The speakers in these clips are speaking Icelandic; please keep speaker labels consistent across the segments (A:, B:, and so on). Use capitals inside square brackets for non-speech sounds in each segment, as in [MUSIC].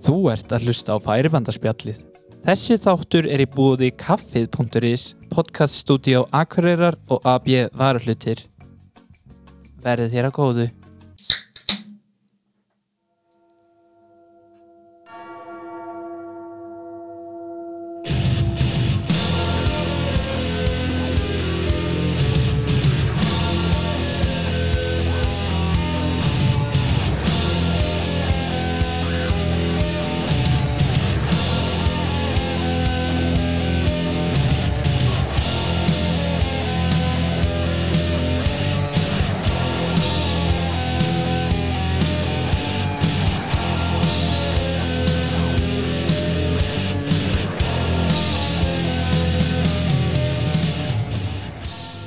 A: Þú ert að hlusta á færibandarspjallið. Þessi þáttur er í búði kaffið.is, podcaststudió Akureyrar og AB Varahlutir. Verðið þér að góðu.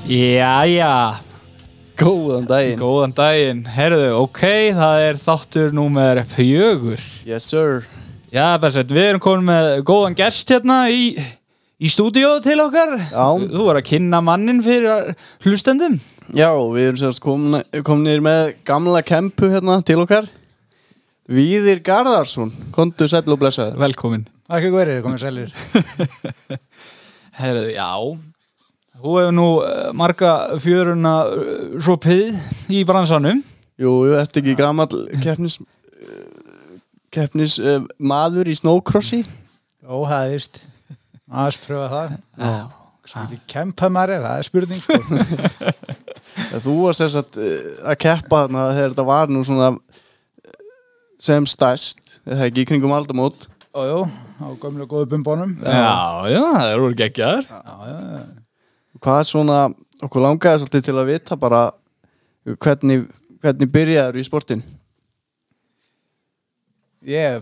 A: Jæja,
B: Góðan daginn
A: góðan daginn. Herðu, ok, það er þáttur númer fjögur.
B: Yes sir
A: Já, Bersett, við erum komin með góðan gest hérna í, í stúdíó til okkar.
B: Já.
A: Þú er að kynna mannin fyrir hlustendum.
B: Já, við erum sérst komin- komnir með gamla kempu hérna til okkar Víðir Garðarsson, kontu sæll og blessaður
A: Velkomin.
C: Takk fyrir hverju, komið sælir.
A: [LAUGHS] Herðu, já Þú hefur nú eh, marga fjöruna eh, sopið í bransanum
B: Jú, jú, ertu ekki gamall keppnis keppnis uh, maður í snowcrossi
C: Ó, það er vist. Aðeins pröfa það.
A: Já,
C: Ekki kempa maður er, það er spurning. Sko.
B: Þú var sérst að, uh, að keppa þarna þegar þetta var nú svona eh, sem stæst eða ekki í kringum aldamót
C: Ójú, á gömlega góðu bumbónum.
A: já, já það eru úr geggjar
B: Hvað svona, okkur langaði svolítið til að vita bara hvernig, hvernig byrjaður í sportin
C: Ég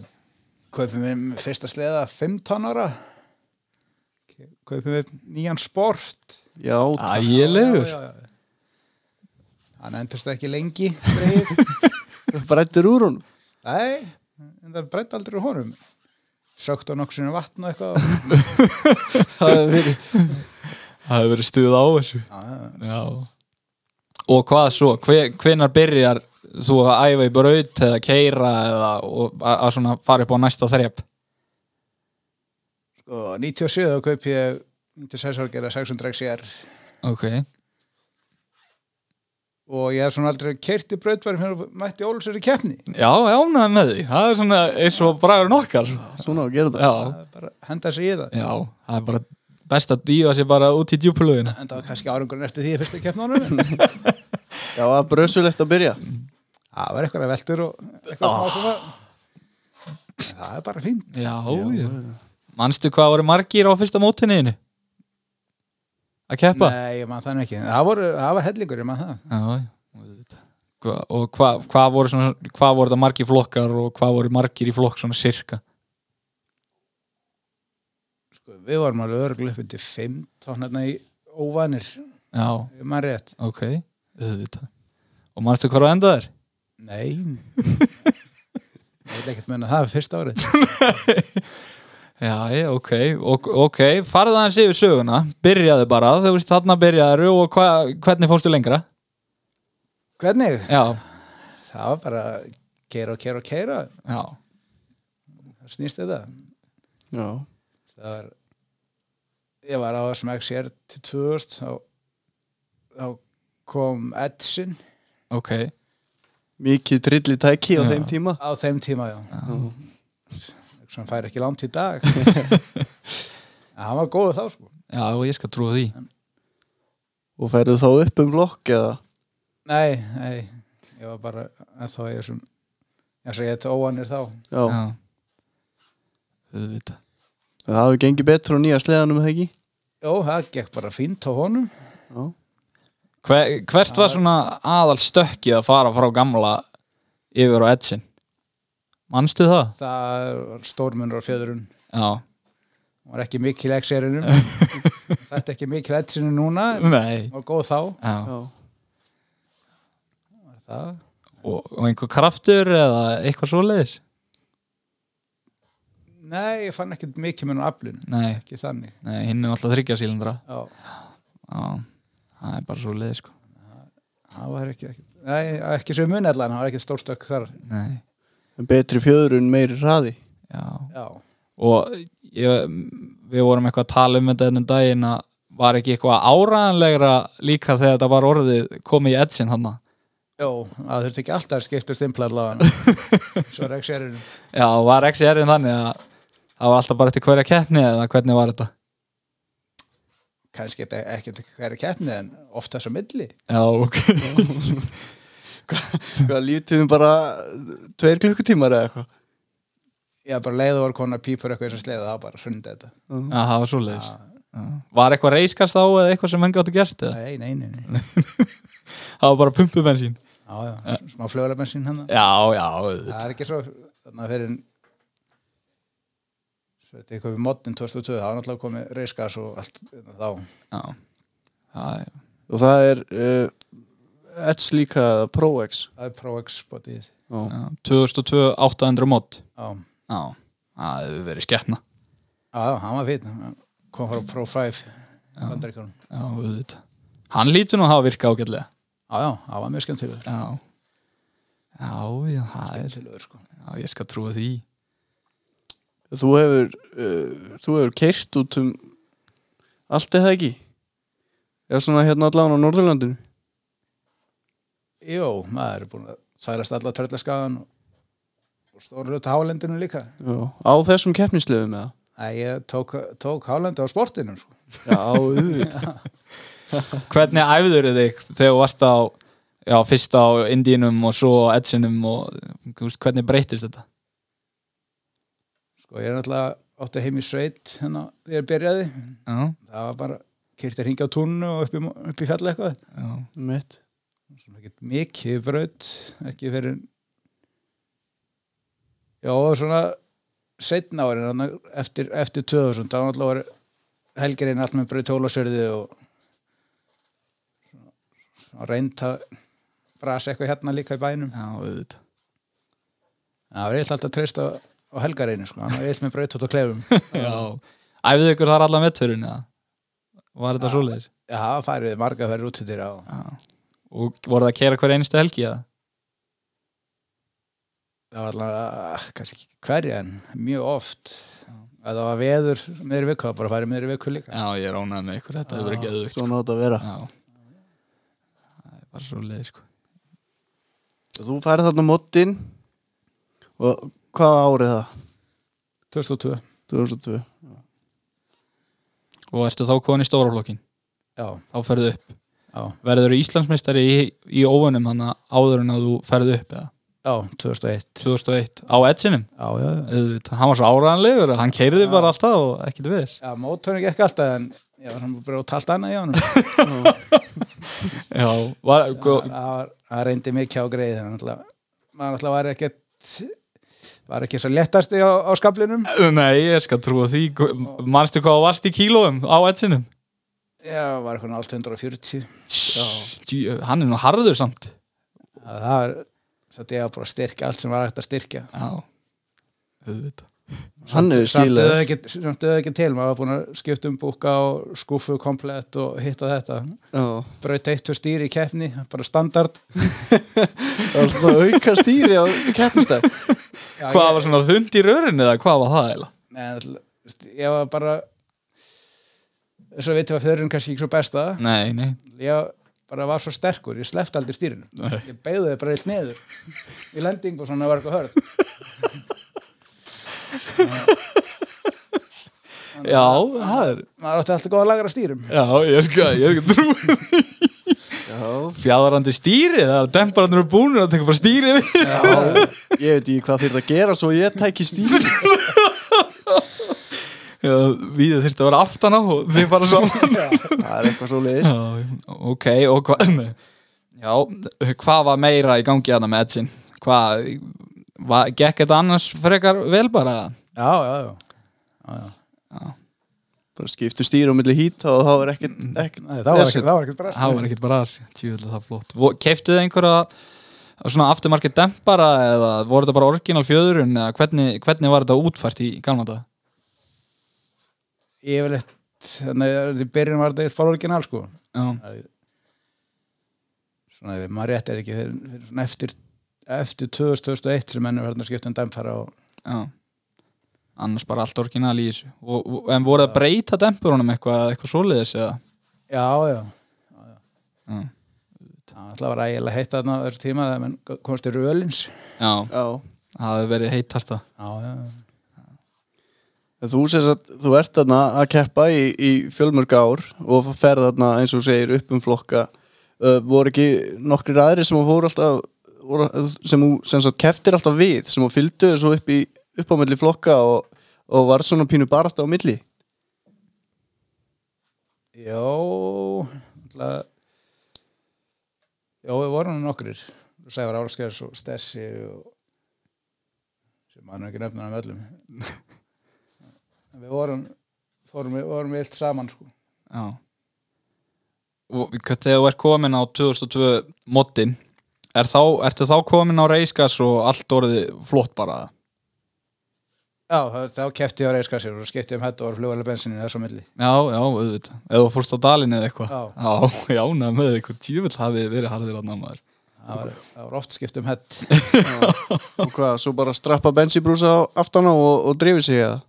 C: kaupi mér fyrsta sleða 15 ára. Kaupi mér nýjan sport.
B: Já,
A: Ægilegur
C: Já, já, já. Hann endurst ekki lengi. greyið.
B: brættur úr hún
C: Nei, en það breytta aldrei úr honum. Sökt á nokkur sinni vatn og eitthvað.
B: Það hefur verið
C: [LAUGHS]
A: Það hefur verið stuð á þessu
C: Já, já, já.
A: Já Og hvað svo, Hve- hvenær byrjar þú að æfa í braut eða keira eða og, að, að svona fara upp á næsta þrep
C: Sko, 97 þá kaupi ég 96 ára gera 600 XR.
A: Ok
C: og ég hef svona aldrei keirt í brautværi fyrir að mætti Ólusur í keppni
A: Já, já, næði með því Það er svona eins og bragur nokkar
B: Svona á að gera það
A: Já,
C: Það er bara að henda sig í það
A: já, það er bara best að dýfa sér bara út í djúpulögina
C: en það var kannski árangurinn eftir því í fyrsta keppnunum
B: Já, það er brösulegt að byrja
C: það var eitthvað að veldur og eitthvað oh. svona En það er bara fínt
A: Já, já. Manstu hvað voru margir á fyrsta mótinniðinu? Að keppa?
C: nei, ég man þannig ekki En það, voru, það var hellingur, ég man það
A: Já, já. auðvitað. Hva, og hvað hva voru, svona- hvað voru það margir flokkar og hvað voru margir í flokk svona sirka?
C: sko, við vorum alveg örgulega upp undir 15 hérna í óvanir
A: Já,
C: ég man rétt
A: ok, auðvitað. Og manstu hvað var endað þér?
C: nei ég vil ekkert menna það fyrsta árið
A: Já, já, ok, ok, okay. farðu aðeins yfir söguna, byrjaðu bara, þú veist þarna byrjaðu og hva, hvernig fórstu lengra?
C: hvernig?
A: Já,
C: það var bara keira og keira og keira
A: já,
C: það snýst þetta
B: Já,
C: það var ég var á þessum XR til 2000 þá, þá kom Edson
A: ok,
B: mikið trilli tæki á
A: Já.
B: þeim tíma
C: á þeim tíma já, sem fær ekki langt í dag en hann var góður þá sko
A: já, og ég skal trúa því.
B: Og færðu þá upp um blokk eða
C: nei, nei, ég var bara en þá ég sem ég segi þetta óanir þá
B: Já,
A: Já, auðvitað.
B: en það hefur gengið betur á nýja sleðanum eða ekki
C: Jó, það gekk bara fínt á honum.
B: Já,
A: Hver, hvert var svona aðal stökkið að fara frá gamla yfir á Edsin? Manstu það?
C: Það var stórmunur á fjöðurinn.
A: Já.
C: Það var ekki mikil XR-inum. Þetta er ekki mikil Edsinu núna.
A: Nei.
C: Það var góð þá.
A: Já.
B: já
C: Var það.
A: Og, og einhver kraftur eða eitthvað svoleiðis?
C: Nei, ég fann ekkert mikil mun á aflun.
A: Nei,
C: Ekki þannig.
A: nei hinn er alltaf þryggja sílindra.
C: Já.
A: Já, það er bara svoleiðis sko.
C: Það var ekki, ekki nei, ekki sem mun allan, það var ekki stórstökk þar.
A: Nei.
B: En betri fjöðrun meiri hraði
A: já.
C: já,
A: og ég, við vorum eitthvað að tala um þetta ennum daginn að var ekki eitthvað áraðanlegra líka þegar þetta var orðið komið í edsin hann
C: já, það þurfti ekki alltaf að skipta um stimpla allavega svo er ekki sérinn
A: já, var XR-in þannig að það var alltaf bara eftir hverja keppni eða hvernig var þetta
C: kannski þetta ekki til hverja keppni en oftast á milli
A: já, ok
B: Hvað lítum um bara tveir klukkutímar eða eitthvað
C: já, bara leiðu var konar pípur eitthvað sem sleiði það bara hrundi þetta
A: já, það var svoleiðis
C: Já.
A: Já. var eitthvað reiskast á eða eitthvað sem enn gáttu gert eða?
C: nei, nei, nei, nei.
A: það var bara pumpubensín
C: Já, já, smá flögulegbensin hann
A: já, já, auðvitað.
C: það er ekki svo þannig að fyrir svo þetta eitthvað við modnin 2002 það var náttúrulega komið reiskas og allt hérna þá
A: já. Já, já.
B: Og það er uh, Edge líka eða Pro-X
C: það er Pro-X bótið
B: Já.
A: Já. 2002 800 mót
C: já, já,
A: já, það hefur verið skemmna
C: já, hann var fín Hann kom frá Pro-5 bandaríkunum
A: já, auðvitað. hann lítur nú að hafa virkað ágætlega
C: já, já, hann var mjög skemmtilegur
A: Já Já, já, það er
C: skemmtilegur sko
A: Já, ég skal trúa því
B: Þú hefur uh, Þú hefur keirt út um Allt er það ekki Eða svona hérna allan á Norðurlandinu
C: jú, maður er búin að særast alla tröllaskagan og, og stóru hluta hálendinu líka
B: Já. Á þessum keppnislefum eða
C: Æ, ég tók, tók hálendi á sportinum sko.
B: Já, [LAUGHS] auðvitað
A: Hvernig æfður þig þegar þú varst á Já, fyrst á Indínum og svo á Edsinum og þú veist, hvernig breytist þetta?
C: sko, ég er náttúrulega átti heim í sveit hérna þegar ég byrjaði
A: Já,
C: það var bara kyrtir hingja á túnnu og upp í, mo- upp í fjall eitthvað
A: já,
B: Mitt
C: Svona ekkert mikið braut ekki fyrir já og svona setna árin þarna eftir, eftir 2000 þá náttúrulega var helgirinn allt með braut hólasörði og svona, svona reynd að brasa eitthvað hérna líka í bænum
A: já, auðvitað
C: það var eitthvað alltaf treyst á, á helgarinu sko, hann var eitthvað með braut út á klefum
A: Já, æfðu ykkur þar allan vetturinn eða? Var þetta svoleiðis?
C: Já, það var farið marga að vera út til þér á
A: Já Og voru það að kera hver einstu helgi eða?
C: það var allavega, kannski ekki hverja en mjög oft að það var veður meðri viku, það var bara farið meðri viku líka
A: Já, ég ránaði með ykkur, þetta hefur ekki auðvitað
B: Svona átt að vera
A: Já Það er bara svoleiðis, sko
B: Þú færið þarna mótin Og hvaða árið það?
C: 2002,
B: 2002
A: Og ertu þá komin í stóraflokkin?
C: já,
A: Þá ferðu upp
C: já,
A: verður Íslandsmeistari í, í óvunum hann áður en að þú ferði upp eða
C: já 2001
A: 2001 á Edsinum
C: já, já, já,
A: Auðvitað, hann var svo áraðanlegur, hann keiriði bara alltaf og ekkert við þess
C: já mótorinn gekk alltaf en ég var svona bara út allt annað í
A: [LAUGHS]
C: honum
A: Já, var,
C: það
A: gó-
C: var- það reyndi mikið á greið en alltaf, maður alltaf var ekkert var ekki svo lettasti á, á skablinum
A: Nei, ég skal trúa því Gó- Manstu hvað þú varst í kílóum á Edsinum?
C: já, var eitthvað allt 140
A: Djú, Hann er nú harður samt
C: það það var, þetta ég var bara að styrkja allt sem var ekkert að styrkja
A: Já, auðvitað
B: Hann hefur
C: samt
B: skilað
C: auðvitað ekki, samt auðvitað ekki til maður var búin að skipta um búka og skúfu komplett og hitta þetta
B: Já
C: braut eitt fyrir stýri í keppni, bara standard
B: Það var svona auka stýri á keppnistæð
C: Já,
A: Hvað
C: ég,
A: var svona þund í rörinu eða hvað var það eiginlega?
C: Nei, ætl- ég var bara svo veitum að fyririnn kannski ekki svo besta
A: Nei, nei,
C: ég bara var svo sterkur, ég sleppti aldrei stýrinu
A: nei.
C: ég beigði bara eitt niður í lending og svona var eitthvað hörð
A: Já, það er
C: maður átti alltaf góða lagar að stýrum
A: Já, ég skal, ég skal trúa því
B: Já,
A: fjadrandi stýri það er dempararnir eru búnir að tekja bara stýri við
B: ég veit ekki hvað þurft að gera svo ég tæki stýri
A: Já, við þurfti að vera aftan á og þið fara saman
B: Það er eitthvað svo leiðis
A: Já, ok, og [LAUGHS] hvað já, hvað var meira í gangi þarna með Edsin hvað, var, gekk þetta annars frekar vel bara
C: já, já, já, já, já.
B: Bara skiptu stýri á milli hýta og það var ekkert, ekkert
C: Nei, það var
B: vesen.
C: ekkert- það var ekkert brast
A: það var ekkert bara aðs, tjúðlega það flott keiftu þið einhverja svona afturmarkið dempara eða voru þetta bara orginal fjöðurinn eða hvernig, hvernig var þetta útfært í gamla dag
C: yfirleitt þannig að í byrjun var þetta bara orginal sko
A: já,
C: svona ef maður rétt er ekki fyrir, fyrir svona eftir eftir 2000, 2001 sem mennum verðin að skipta um dæmfara og
A: já, annars bara allt orginal í þessu og, og- en voru að breyta demburunum eitthvað eða eitthvað svoleiðis eða
C: já, já
A: já,
C: það var alltaf rægilega heitt þarna á þessu tíma þegar menn komst í rölins
A: já
B: Já.
A: það hefur verið heitasta
C: já, já,
B: En Þú sérst að þú ert þarna að keppa í, í fjölmörg ár og ferð þarna eins og þú segir upp um flokka uh, voru ekki nokkrir aðri sem þú fór alltaf voru, sem þú sem sagt keftir alltaf við sem þú fylgdu svo upp, í, upp á milli flokka og, og var svona pínu barátt á milli
C: Jó, alltaf Jó, við vorum nú nokkrir Sævar Álskers og Stessi og sem maður nú ekki nefnir hann [LAUGHS] öllum En Við vorum fórum, við vorum vilt saman sko
A: já og hvað- þegar þú ert komin á 2002 moddin er þá, ertu þá komin á reiskas og allt orðið flott bara
C: Já, þá- þá kefti ég á reiskassir og skipti um hættu og flugvælega bensinni þess á milli
A: já, já, auðvitað, eða þú fórst á dalin eða eitthvað
C: Já.
A: já, [LAUGHS] já, nefn með eitthvað tjúvill hafið verið harðir að námaður
C: Það var, það var oft skipt um hett [LAUGHS]
B: og hvað, svo bara strappa bensinbrúsa aftan á og, og drifið sig eða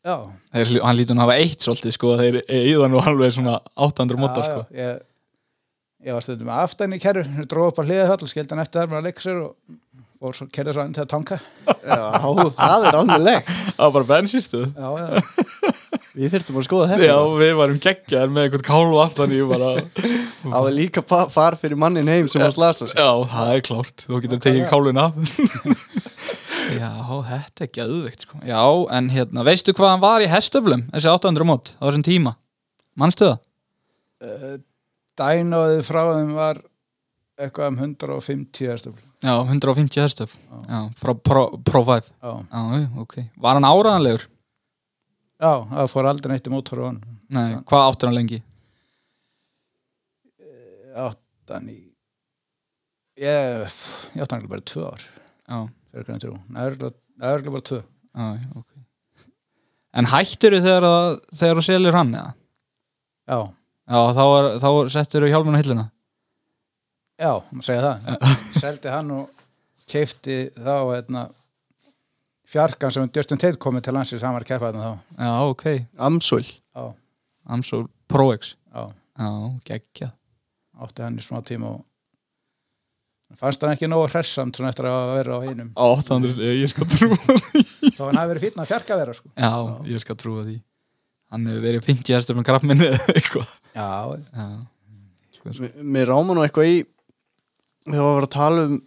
C: Já,
A: Þeir, hlý- hann lítur nú að hafa eitt svolítið sko þeir eigða nú alveg svona 800 móta
C: já,
A: sko
C: já ég, ég var stundum aftan í kerru dróð upp á hliðið höll, skildi hann eftir þar með að leika sér og, og svo kerði svo hann til að tanka
B: Já, það er alveg legg
A: það var bara bensinstuð
C: Já, já,
B: Við þurftum að skoða þetta
A: já við varum geggjar með einhvern kálu aftan í bara
B: Það var líka pa- far fyrir mannin heim sem var slasa sig
A: já það er klárt þú getur tekið kálun af [LAUGHS] já þetta er gæðveikt sko já en hérna veistu hvað hann var í hestöflum þessi 800 mót á þessum tíma mannstu það
C: dænaði Eh, frá þeim var eitthvað um 150 hestöfl
A: já 150 hestöfl já frá Pro, Pro 5
C: já.
A: já ok var hann áraðanlegur
C: já, það fór aldrei neitt í mótor á hann
A: nei hvað áttur hann lengi
C: 8, 9 ég, pff, ég átti hann bara 2 ár
A: já
C: fyrir hvernig trú, nærlega bara 2
A: Já, já, ok. En hættur þú þegar, að- þegar þú selur hann? Ja?
C: já,
A: Já, þá, er, þá settur þú hjálmun á hilluna.
C: já, maður segja það seldi hann og keifti þá hérna fjarkan sem Justin Tate komið til landsins hann var að keppa þarna þá
A: Já, ok.
B: Amsvöld
C: já,
A: Amsol Pro-X.
C: já,
A: Já, geggjað.
C: átti hann í smá tíma og fannst hann ekki nógu hressamt svona eftir að vera á einum
A: 800, ég skal trúa því.
C: þá hann hafi verið fínn að fjarka vera sko
A: Já, ég skal trúa því. Hann hefur verið 50 hestur með krabbminni eða eitthvað.
C: Já,
A: Já,
B: M- Mér ráma nú eitthvað í þegar var að vera að tala um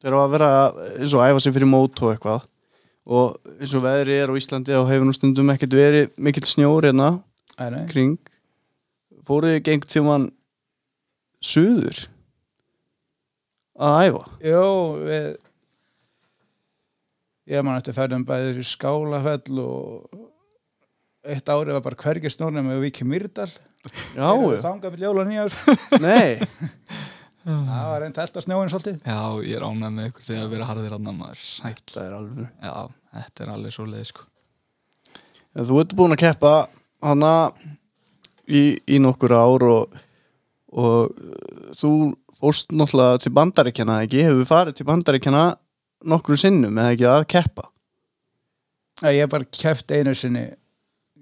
B: þegar var að vera að- eins og æfa sig fyrir mót og eitthvað og eins og veðrið er á Íslandi og hefur nú stundum ekkert verið mikill snjór hérna
C: það er
B: kring fóruðu ekki einhvern tímann suður að æfa
C: Jó, við ég man eftir ferðum bæðir í Skálafell og eitt árið var bara hvergi snórnum með Viki Myrdal
B: Já, já.
C: þangað með ljóla nýjar
B: nei
C: það var reynd alltaf snjóin svolítið
A: já ég er ánægð með ykkur þegar að vera harðir hann maður. Sæll.
B: Það er alveg
A: Já, þetta er alveg svo sko.
B: En þú ert búin að keppa hana í, í nokkur ár og, og uh, þú fórst náttúrulega til bandaríkjana ekki, hefur farið til bandaríkjana nokkru sinnum eða ekki að keppa
C: Nei, Ég bara kefti einu sinni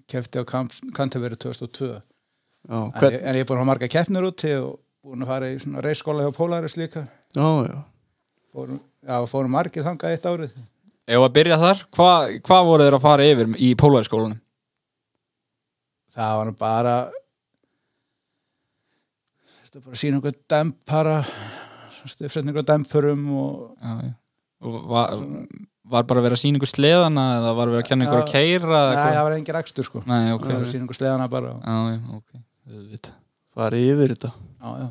C: kefti á Kantaveri 2002
B: Já,
C: en
B: hvern,
C: ég, en ég er búin að hafa marga keppnir úti og búin að fara í svona reisskóla hjá Polaris líka
B: já, já.
C: fórum, já, fórum margir þangað eitt árið
A: Ef að byrja þar, hvað hva voru þeir að fara yfir í pólvæðskólanum?
C: það var nú bara þetta bara að sína einhver dempara stifsetningur á dempurum og
A: já, já. og var, var bara verið að sína ykkur sleðana eða var verið að kenna ykkur að
C: Já.
A: keira
C: Nei, það
A: eitthvað?
C: var engin ekstur sko
A: nei, ok
C: það var að sína einhver sleðana bara og-
A: já, já, ok Auðvitað.
B: farið yfir þetta
C: já, já.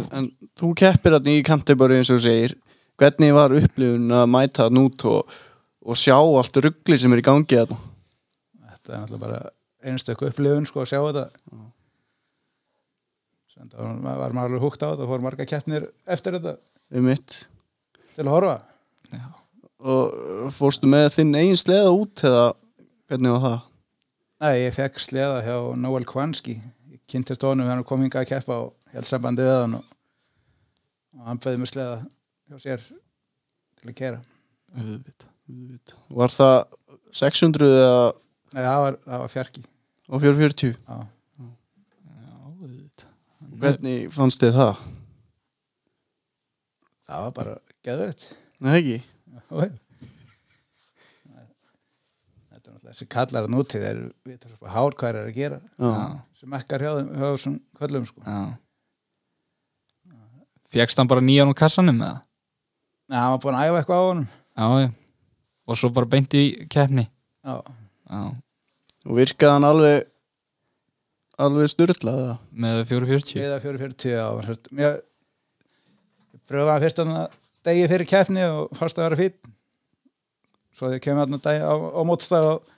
B: en, en þú keppir hann í Canterbury eins og þú segir hvernig var upplifun að mæta hann út og, og sjá allt ruggli sem er í gangi þarna
C: þetta er náttúrulega bara einstöku upplifun sko að sjá þetta þannig að maður var maður alveg húgt á þetta fórum marga keppnir eftir þetta
B: um mitt
C: til að horfa
B: og uh, fórstu með þinn eigin sleða út eða hvernig var það?
C: Nei, ég fekk sleða hjá Noel Kwanski ég kynntist honum þegar hann kom hingað að keppa og held sambandi við hann og, og hann bauði mér sleða hjá sér til að kera
A: Auðvitað.
B: Var það 600 eða
C: Nei, það var, það var fjarki
B: og 440
C: Já.
B: Hvernig fannst þið það?
C: Það var bara geðveitt
B: Nei ekki?
C: Oj. Þetta er náttúrulega þessi kallar að núti þeir vita svo hár hvað er að gera
B: Já,
C: sem ekkar hjá þeim hjá þessum köllum sko.
A: Fjækst hann bara nýjan úr kassanum með það?
C: Nei, hann var búin að æfa eitthvað á honum
A: Já, já. Og svo bara beint í keppni?
C: Já,
A: Já.
B: og virkaði hann alveg alveg styrlaða
A: Með 440?
C: eða 4-40 á Mér pröfaði hann fyrst að degi fyrir keppni og fannst að vera fýtt svo þegar kemur hann að degi á, á mótstað og,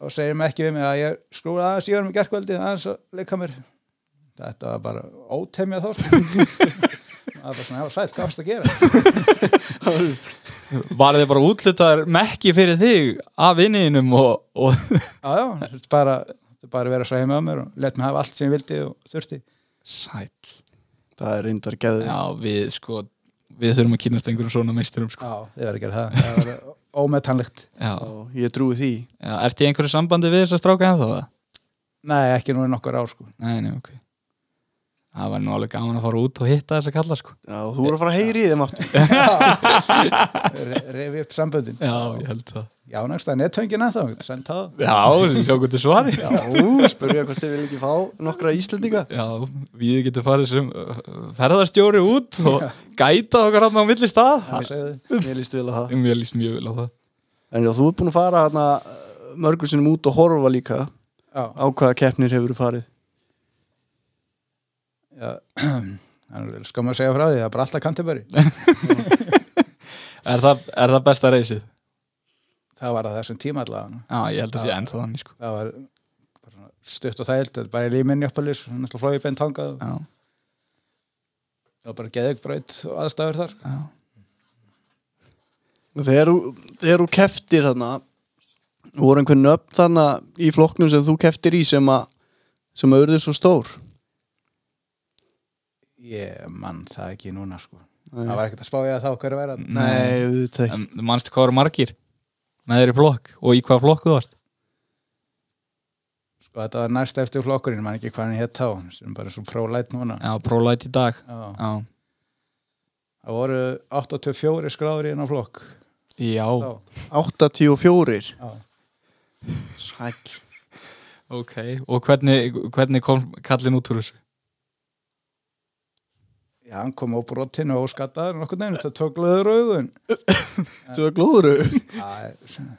C: og segjum ekki við mig að ég skrúði aðeins í honum í gerkvöldi aðeins að leika mér þetta var bara ótemja þá sko. það var bara svona, það var sætt, hvað varst að gera
A: Var þið bara útlutaðar mekki fyrir þig af vinniðinum og, og
C: Já, já, þetta er bara, þetta er bara að vera svo heima á mér og let mig hafa allt sem ég vildi og þurfti.
A: Sæl
B: það er reyndar geður
A: Já, við sko við þurfum að kynast einhverjum svona meisturum sko.
C: Já, þið verður að gera það. Það var ómetanlegt.
A: Já,
B: ég trúi því
A: já Ertu í einhverju sambandi við þess að stráka ennþá það?
C: Nei, ekki nú í nokkur ár, sko.
A: Nei, nei, ok Það var nú alveg gaman að fara út og hitta þess að kalla sko
B: Já, þú voru að fara að heyri í þeim aftur
C: Re refi upp samböndin.
A: Já, ég held það
C: Já, nægst að nettöngin að þá, send það.
A: Já, sjá hvað þið svari Já,
B: Já, spurðu ég hvort þið vil ekki fá nokkra Íslendinga
A: við getum farið sem uh, ferðarstjóri út og gæta okkar hann á milli stað
C: Það segðu þið.
B: Mér líst vel að það
A: Mér líst mjög vel á það
B: En já, þú ert búin að fara hana mörgur sinnum út og horfa líka
C: Já,
B: á hvaða keppnir hefur farið
C: já. [CLEARS THROAT] Það er skam að segja frá því, það er bara alltaf kantiböri.
A: Er það, er það besta reysið?
C: Það var að þessum tíma allavega.
A: Já, ég held að sé ennþá þannig sko
C: Það var bara svona stutt og þægilt, þetta er bara í líminni uppalis, náttúrulega flóið beint hangað og
A: Já,
C: það var bara geðugbraut og aðstæður þar. sko.
A: já
B: Og Þegar þú, þegar þú keftir þarna voru einhvern nöfn þarna í flokknum sem þú keftir í sem að sem að urðu svo stór
C: Ég mann það ekki núna, sko.
B: Nei.
C: Það var ekkert að spá ég að þá hverju verða.
B: Nei, þú veit ekki
A: En manstu hvað eru margir með þeirri flokk og í hvaða flokku þú varst
C: Sko þetta var næst eftir flokkurinn, mann ekki hvað hann hétt þá, sem bara svo prólætt núna.
A: Já, prólæt í dag
C: Já.
A: Já,
C: Það voru 84 skráður í hennar flokk.
A: já.
C: Þá,
B: 84
C: já.
B: Sæll
A: ok Og hvernig, hvernig kom kallin út úr þessu?
C: já, hann kom á brotinu og skattaður nokkur nefnir, það tók löður augun.
B: Þú er glóður
C: Það er svona-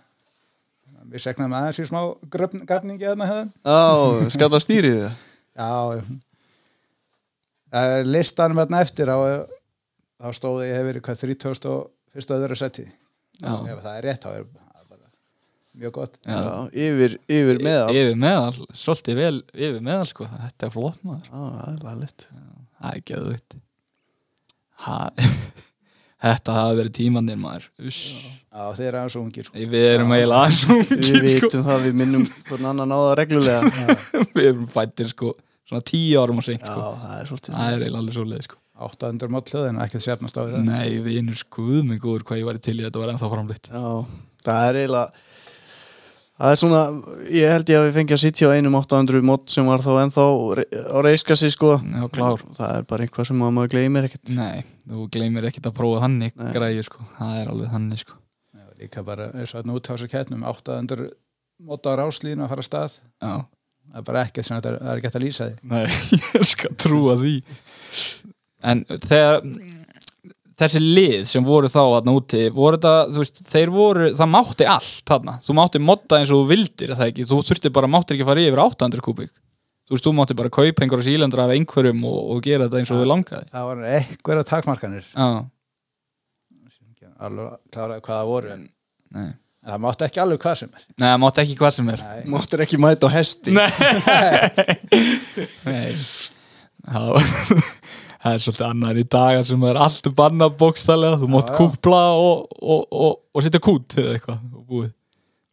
C: Við segnaðum aðeins í smá gröfn- grafningi hérna aðna hefðan.
B: Á, skalla stýrið það
C: Já, já. Það er listanum hérna eftir á, þá stóði ég hefur verið hvað 30 og fyrstu öðru seti.
A: Já.
C: Ef það er rétt, þá er það er bara mjög gott.
A: Já.
B: Já, yfir, yfir meðal
A: Yfir meðal, svolítið vel yfir meðal sko Þetta er flott maður
B: Á, það er lagleitt
A: Það er geðvægt [LAUGHS] Þetta hafa verið tímannir maður Uss.
C: Já, þeir eru aðeins ungir, sko.
A: Við erum eiginlega aðeins
B: Við
A: ungir sko
B: vitum það, við minnum hvern annan á það reglulega Já,
A: Við erum fættir sko Svona tíu árum og seint sko
B: það er svolítið
A: Það er eiginlega alveg svo leið sko
C: 800 málluð en ekkert sérnast á það
A: Nei, vinur skuð mig góður hvað ég væri til í að þetta var ennþá framleitt
B: Já, það er eiginlega Það er svona, ég held ég að við fengið að sitja á einum 800 mót sem var þá ennþá re- á reiskassi sko
A: Já, klár.
B: Það er bara einhvað sem að maður gleymir ekkert
A: Nei, þú gleymir ekkert að prófa þannig
B: Nei.
A: græju sko, það er alveg þannig sko
C: Já, líka bara eins og hérna að nút á þessu kettnum 800 móta á ráslínu að fara að stað
A: Já,
C: það er bara ekkert sem þetta er, það er ekki hægt að lýsa því
A: nei, [LAUGHS] ég skal trúa því En þegar þessi lið sem voru þá þarna úti, voru það, þú veist þeir voru, það mátti allt þarna þú mátti modda eins og þú vildir, er það ekki þú þurfti bara, máttir ekki fara yfir 800 kubik þú veist, þú mátti bara kaupa einhverja sílendra af einhverjum og, og gera þetta eins og þú langaði
C: það var eitthvað takmarkanir
A: Já,
C: alveg kláraði hvað það voru en
A: nei
C: en það mátti ekki alveg hvað sem er
A: Nei, það mátti ekki hvað sem er
C: Nei,
B: Máttur ekki mæta á hesti
A: Nei Það var- [LAUGHS] það er svolítið annar í dagar sem er allt bannað bókstallega, þú mátt
C: já.
A: kúpla og, og, og, og sitja kút eða eitthvað og búið,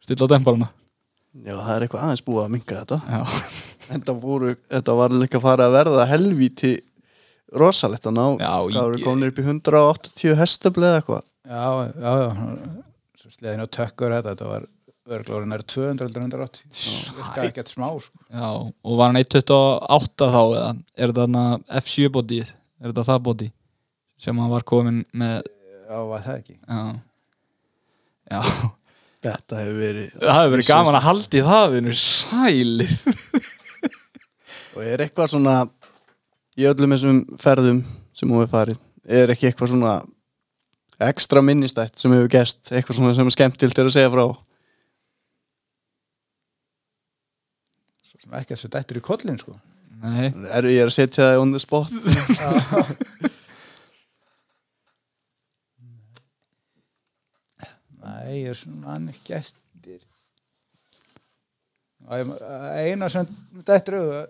A: stilla dembarana
B: Já, það er eitthvað aðeins búið að minga þetta
A: Já,
B: Þetta, voru, þetta var líka farið að verða helvíti rosalegt að ná
A: Já,
B: Hvað voru
A: ég-
B: komin upp í 180 hestöfli eða eitthvað
C: já, já, já svo sleðin og tökkur þetta, þetta var örglórin er 200 heldur en 180 Það virkaði ekkert smá sko.
A: Já, og var hann 1.28 þá eða er þetta þarna F7 bótið er þetta það bótið sem hann var komin með
C: já, var það ekki
A: já, já.
B: Þetta hefur verið
A: það hefur verið gaman að haldi það vinur sælir
B: Og er eitthvað svona í öllum þessum ferðum sem hún hefur farið er ekki eitthvað svona ekstra minnistætt sem hefur gest eitthvað svona sem er skemmtilt er að segja frá
C: svo sem ekki að setja eftir í kollin sko.
A: Nei,
B: er, Ég er að setja það on the spot
A: [LAUGHS]
C: Nei, ég er svona mann ekki eftir Og ég- eina sem þetta eru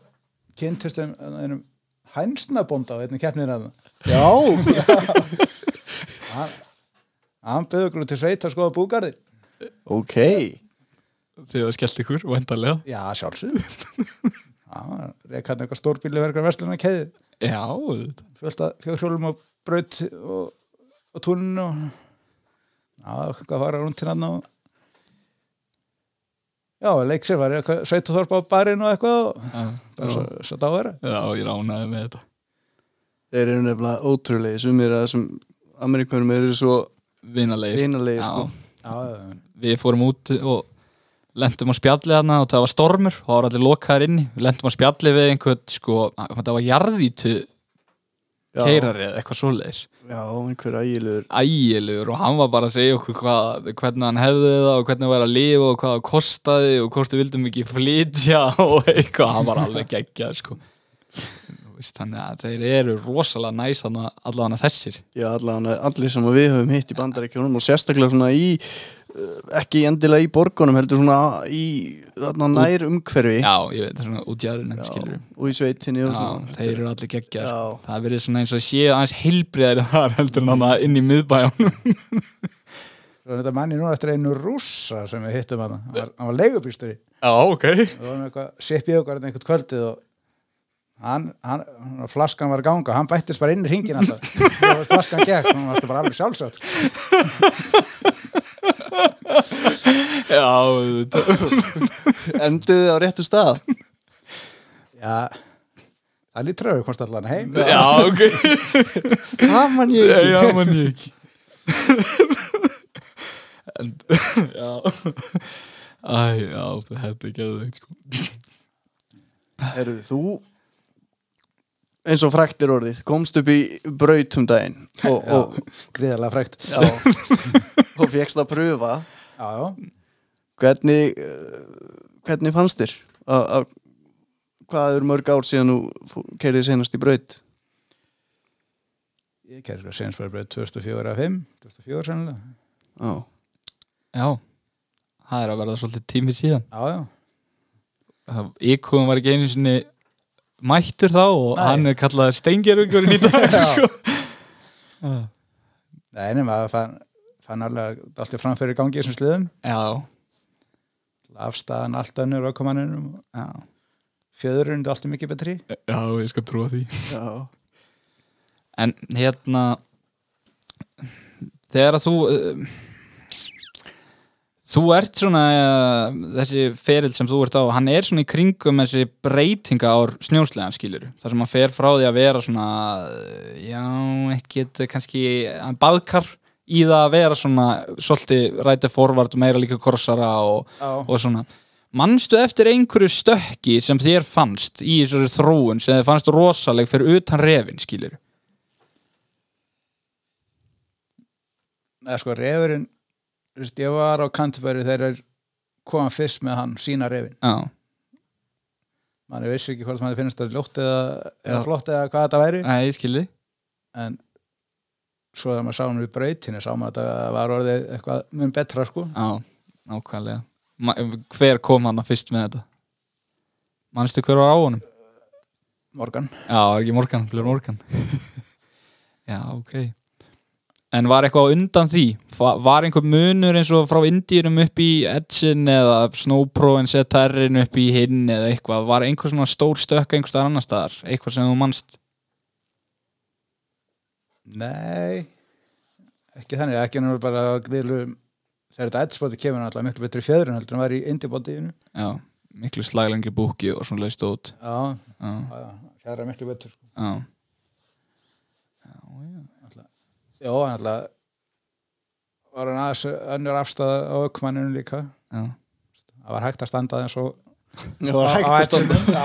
C: kynntustum einum hænsnabónda á einnig keppnir að
B: Já
C: [LAUGHS] hann, hann byggði okkur til sveit að skoða búgarði
B: Ok
A: þið hefur skellt ykkur, væntalega
C: já, sjálfsög já, reyka hann eitthvað stórbíliverkar verslunar keði
A: Já, auðvitað.
C: fullt að fjórhjólum og braut og, og túninu og já, hvað fara rundt til hann og já, leik sér var eitthvað sveitaþorp á barinn og eitthvað og
A: já,
C: bara svo, svo dáður
A: já, ég ránaði með þetta
B: Þeir eru nefnilega ótrúlegi sumir að þessum Amerikanum eru svo
A: Vinalegi
B: vinalegi sko
C: já,
A: Við fórum út og lendum á spjalli þarna og það var stormur og það var allir lokaðar inni Við lendum á spjalli við einhvern sko, það var jarðítu
B: Já.
A: keirari eða eitthvað svoleiðis
B: Já, einhver ægilegur
A: ægilegur og hann var bara að segja okkur hvað, hvernig hann hefði það og hvernig hann væri að lifa og hvað það kostaði og hvort við vildum ekki flytja [LAUGHS] og eitthvað, hann var alveg geggjað sko. Þú veist, þannig að þeir eru rosalega næs þarna- allavega þessir
B: Já, allan, allir sem við höfum hitt í bandaríkjónum og sérstaklega svona í eh, ekki endilega í borgunum heldur svona í þarna nær umhverfi
A: já, ég veit, svona út jæðurinn skilur
B: og í sveitinni og
A: Já,
B: svona
A: þeir eru allir geggjað
B: Já.
A: sko. það verið svona eins og séu aðeins heilbriðar [LAUGHS] þar heldur en hann inn í miðbæjánum
C: svo er þetta manni núna eftir einu rússa sem við hittum hann hann var, hann var leigubýstur í
A: já, ok
C: við varum eitthvað sippið okkur einhvern kvöldið og hann, hann, hann flaskan var að ganga hann bættist bara inn í ringin [LAUGHS] alltaf þegar flaskan gekk, hann var sko bara alveg sjálfsagt
A: [LAUGHS] já, auðvitað.
B: Enduðu þið á réttu stað
C: já, það lítur öfum komst allan heim
A: já, ok
B: Það mann ég
A: [LAUGHS]
B: ekki
A: já, mann ég ekki en, [LAUGHS] já æ, já, þetta er geðveikt sko.
B: Herru, þú eins og frækt er orðið komst upp í braut um daginn og, og,
C: gríðarlega frækt
B: já, og fékkst að pröfa
C: [LAUGHS] já, já,
B: hvernig, eh, hvernig fannst þér að að- hvað eru mörg ár síðan þú keirið senast í braut
C: ég kæri sko Seinsbergbröð 2004 að 5 2004 sennilega,
B: Já,
A: já, það er að verða svolítið tími síðan
C: já, já
A: Íkúðum var ekki einu sinni mættur þá og
C: Nei.
A: hann er kallaður steingerungurinn í dag [LAUGHS]
C: Já.
A: sko. já,
C: Nei, nema, það fann, fann alveg allt í framfyrir gangi í þessum sliðum
A: já,
C: afstæðan allt önnur ökumanninum
A: já.
C: fjöðurinn er allt í mikið betri
A: Já, ég skal trúa því
B: já
A: En hérna Þegar að þú uh, Þú ert svona uh, Þessi ferill sem þú ert á Hann er svona í kringum þessi breytinga ár snjóslegan skilur Þar sem hann fer frá því að vera svona eh, Já, ekkit eh, kannski Hann baðkar í það að vera svona Svolítið rætið forvart og meira líka korsara og
C: já,
A: og svona Manstu eftir einhverju stökki sem þér fannst í þessari þróun sem þér fannst rosaleg fyrir utan refin, skilur?
C: eða sko refurinn þú veist, ég var á Canterbury þegar þeir koma fyrst með hann, sína refin
A: Já,
C: mann vissi ekki hvort maður finnst það ljótt eða, eða
A: Já.
C: flott eða hvað þetta væri
A: nei, ég skilði
C: en svo þegar maður sá hann við brautinni sá maður að það var orðið eitthvað mun betra sko
A: Já, nákvæmlega Ma Hver kom hann fyrst með þetta? Manstu hver var á honum?
C: morgan
A: Já, er ekki Morgan, Blur Morgan [LAUGHS] Já, ok En var eitthvað á undan því? Fa- Var einhver munur eins og frá Indíunum upp í Edgin eða Snowpro en setta R-in upp í hinn eða eitthvað? Var einhver svona stór stökka einhver staðar annar staðar? Eitthvað sem þú manst?
C: nei ekki þannig, ekki nú bara að glilu þegar þetta eddsbóti kemur hann alltaf miklu betri í fjöðrun heldur en var í indibótiðinu
A: já, miklu slaglengi búki og svona leist út
C: já,
A: já,
C: já, já, fjöðra miklu betur sko.
A: já,
C: já, hann alltaf var hann aðeins önnur afstæða á ökmanninu líka
A: já.
C: það var hægt að standa aðeins og
B: það var hægt að standa
C: já,